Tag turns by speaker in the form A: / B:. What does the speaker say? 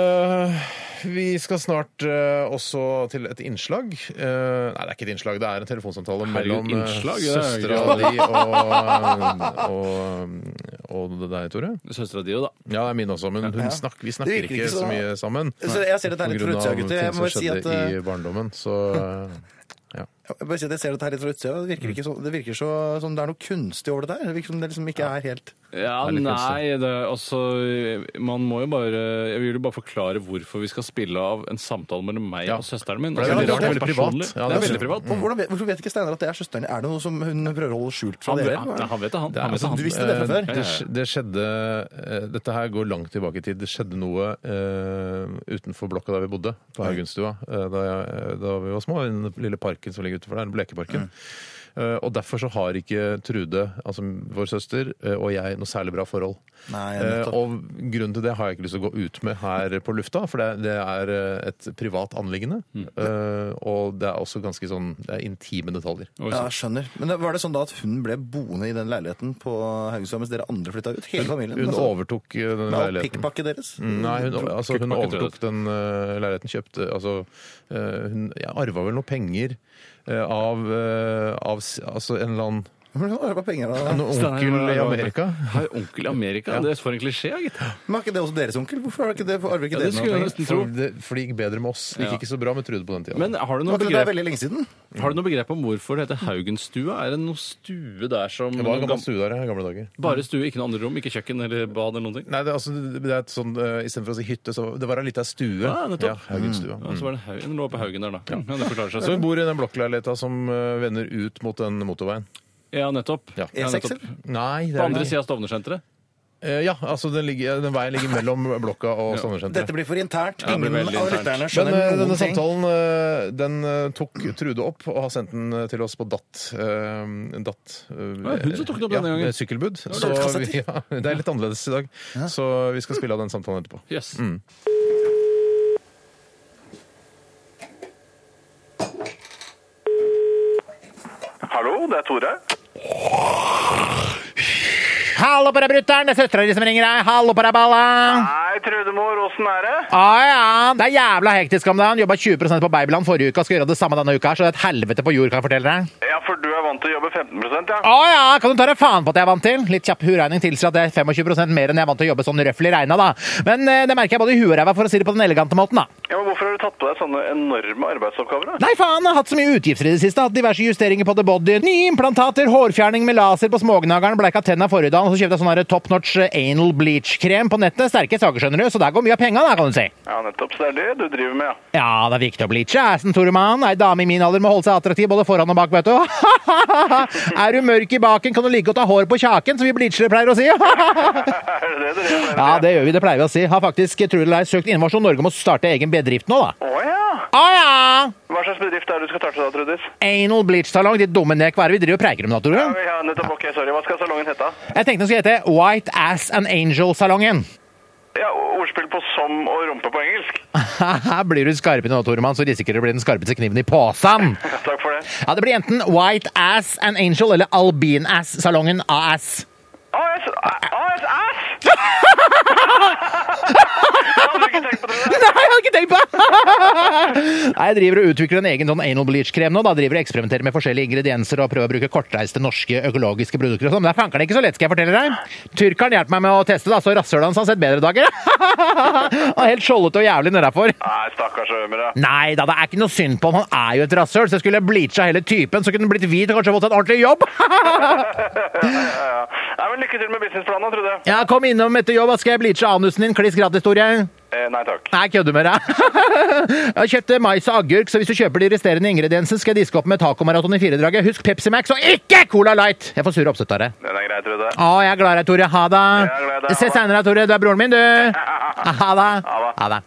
A: Eh, vi skal snart eh, også til et innslag. Eh, nei, det er ikke et innslag, det er en telefonsamtale
B: Herregud,
A: mellom uh,
B: innslag, det er
A: søstera di og, og, og det deg, Tore.
B: Søstera di òg, da.
A: Ja, det er min også, men hun snakker, vi
C: Det
A: snakker
C: virker
A: ikke,
C: ikke
A: så
C: sånn.
A: mye sammen.
C: Så jeg ser dette her
A: På
C: litt
A: grunn
C: fra
A: av ting
C: utsida, gutter. Jeg
A: som
C: må bare si
A: skjedde
C: at eh,
A: i barndommen, så eh,
C: Jeg bare sier at jeg ser dette her litt fra utsida. Det virker, ikke
A: Mm.
C: så, det virker så, som det er noe kunstig over det der. Det virker som det liksom ikke er helt
A: Mm.
B: Ja,
A: Det er litt
B: nei, det, altså Man må jo bare Jeg vil jo bare forklare hvorfor vi skal spille av en samtale mellom meg
A: Ja.
B: og søsteren min.
A: For det er
B: Altså,
A: veldig rart, det er veldig
B: personlig.
A: privat. Mm. Ja,
B: det er
A: det er
B: veldig privat.
C: Men Hvordan vet, hvorfor vet ikke Steinar at det er søsteren? Er det noe som hun prøver å holde skjult fra
B: Han,
C: dere?
B: han, han vet det, han.
A: Det, er,
B: han, vet det,
A: altså,
B: han.
C: Du visste det fra
A: eh,
C: før?
A: Det, sk- det skjedde eh, Dette her går langt tilbake i tid. Det skjedde noe eh, utenfor blokka der vi bodde, på Haugenstua, eh, da, jeg, da vi var små. i Den lille parken som ligger utenfor der,
C: Mm.
A: Blekeparken. Eh, og derfor så har ikke Trude, altså vår søster, eh, og jeg noe særlig bra forhold.
C: Nei,
A: Eh,
C: nettopp.
A: og grunnen til det har jeg ikke lyst til å gå ut med her på lufta, for det, det er eh, et privat anliggende.
C: Mm.
A: Eh, og det er også ganske sånn Det er intime detaljer.
B: Oi,
C: Ja,
B: sant.
C: jeg skjønner. Men det- var det sånn da at hun ble boende i den leiligheten på Haugesund mens dere andre flytta ut? Hele familien?
A: Hun
C: altså,
A: overtok eh, den
C: med all
A: leiligheten.
C: pikkpakket deres?
A: Nei, hun, altså, hun
B: Kuttpakke, tror jeg
A: overtok den eh, leiligheten, kjøpte altså, eh, Hun ja, arva vel noen penger eh, av, eh, av s- altså, en eller annen
C: Hun arva penger av
A: en onkel i Amerika.
B: Har onkel i Amerika? Det er for en klisjé, ja, gitt.
C: Men var ikke det også deres onkel? Hvorfor arver ikke det, arver ikke
B: Ja,
C: dere
B: det skulle
C: noe
B: jeg
C: penger?
B: nesten tro.
A: For det, for det gikk bedre med oss. Det
B: Ja.
A: gikk ikke så bra med Trude på den tida.
B: Men har du noe
C: Var ikke det der
B: begrep,
C: veldig lenge siden?
B: har du noe begrep om hvorfor det heter Haugenstua? Er det noe stue der som
A: det var en
B: noen
A: gammel
B: gam-
A: stue der i gamle dager.
B: Bare stue, ikke noe andre rom? Ikke kjøkken eller bad eller noen ting?
A: Nei, det, er altså, det er et sånn, uh, Istedenfor å si hytte, så det var ei lita stue.
B: Ja, Ah, nettopp. Mm.
A: Haugenstua.
B: Ja, så var det Haug- den lå på Haugen der, da. Ja, det forklarer seg
A: Så hun
B: selv.
A: bor i den blokkleiligheta som uh, vender ut mot den motorveien.
B: Ja, nettopp.
A: Ja.
B: Ja,
C: E6,
B: nettopp.
C: E eller?
A: Nei, det
B: På
A: er
B: andre
A: det ikke.
B: sida av Stovner-senteret.
A: Eh, Ja, altså den, ligger, den veien ligger mellom blokka og Stovner-senteret.
C: Dette blir for internt.
B: det blir
C: Ingen
B: veldig
C: av
B: internt.
C: lytterne
A: Men
C: skjønner
A: eh,
C: noen
A: denne
C: ting.
A: samtalen eh, den eh, tok Trude opp og har sendt den eh, til oss på DAT. eh, DAT eh,
B: det hun som tok den opp
A: ja,
B: denne gangen?
A: det er Sykkelbud. Så
C: DAT-kassetter.
A: vi, ja, det er litt annerledes i dag, så vi skal spille av den samtalen etterpå.
B: Yes.
D: Hallo, det er Tore.
E: Hallo på deg, brutter'n! Det er søstera di som ringer deg. Hallo på deg, balla!
D: Hei, Trudemor, åssen er det?
E: Å ja, det er jævla hektisk om dagen. Jobba 20 på Babyland forrige uke og skal gjøre det samme denne uka, så det er et helvete på jord, kan jeg fortelle deg.
D: Ja, for du er vant til å jobbe 15 ja?
E: Å ja, kan du ta deg faen på at jeg er vant til? Litt kjapp huregning tilsier at det er 25 mer enn jeg er vant til å jobbe sånn røffelig regna, da. Men eh, det merker jeg både i huet og ræva, for å si det på den elegante måten, da.
D: ja? Men hvorfor har du tatt på deg sånne enorme arbeidsoppgaver, da?
E: Nei, faen, jeg har hatt så mye utgifter i det siste. Hatt diverse justeringer på the body. Nye implantater, hårfjerning med laser på smågnageren, bleika tenna forrige dag, og så kjøpte jeg sånn her top notch anal bleach-krem på nettet. Sterke saker, skjønner du, så der går mye av penga, da, kan du si.
D: Ja, nettopp. Så det er det du driver med, ja.
E: Ja, det er viktig å bleache assen, Toremann. Ei dame i min alder må holde seg attraktiv både foran og bak, vet du. er du mørk i baken, kan du like å ta hår på kjaken, som vi bleachere pleier å si.
D: Er det det du driver med?
E: ja, det gjør vi, det pleier vi å si. Har faktisk, tror du eller ei, søkt Innovasjon Norge om å starte egen bedrift nå, da.
D: Å ja!
E: Å ja!
D: Hva slags bedrift er det du skal starte da, Trudis?
E: Anal bleach-salong, ditt dumme nek. Hva er det vi driver og preiker om da, tror
D: Ja,
E: du?
D: ja, nettopp. Ok, sorry. Hva skal salongen hete? da?
E: Jeg tenkte den skulle hete White Ass and Angel-salongen.
D: Ja, ordspill på som og rumpe på engelsk.
E: Haha, Blir du skarpe nå, Toremann, så risikerer du å bli den skarpeste kniven i posen.
D: Takk for det.
E: Ja, det blir enten White Ass and Angel eller Albin Ass-salongen AS.
D: AS! AS! AS! Det hadde du ikke tenkt på, Trude.
E: Nei, jeg hadde ikke tenkt på det! Nei, Jeg driver og utvikler en egen sånn anal bleach-krem nå. Da driver jeg og eksperimenterer med forskjellige ingredienser og prøver å bruke kortreiste norske økologiske produkter og sånn. Men det er fankeren ikke så lett, skal jeg fortelle deg. Tyrkeren hjelper meg med å teste, da, så rasshølet hans har sett bedre dager. Han er helt skjoldete og jævlig nedafor.
D: Nei, stakkars ømere.
E: Nei da, det er ikke noe synd på ham. Han er jo et rasshøl, så jeg skulle bleacha hele typen, så kunne han blitt hvit og kanskje fått en ordentlig jobb.
D: Nei, men lykke til med businessplanen, Trude.
E: ja, kom innom etter jobb, da skal jeg bleache anusen din. Kliss gratis, Tore.
D: Eh, nei takk.
E: Nei, jeg kødder med deg. Jeg kjøpte mais og agurk, så hvis du kjøper de resterende ingrediensene, skal jeg diske opp med tacomaraton i firedraget. Husk Pepsi Max og ikke Cola Light! Jeg får sure oppsett av det.
D: Den er grei, Trude.
E: Å, jeg er glad i deg, Tore. Ha det.
D: Jeg er glad i deg.
E: Ses seinere, Tore. Du er broren min, du. Ha det.
D: Ha det.
E: Ha det.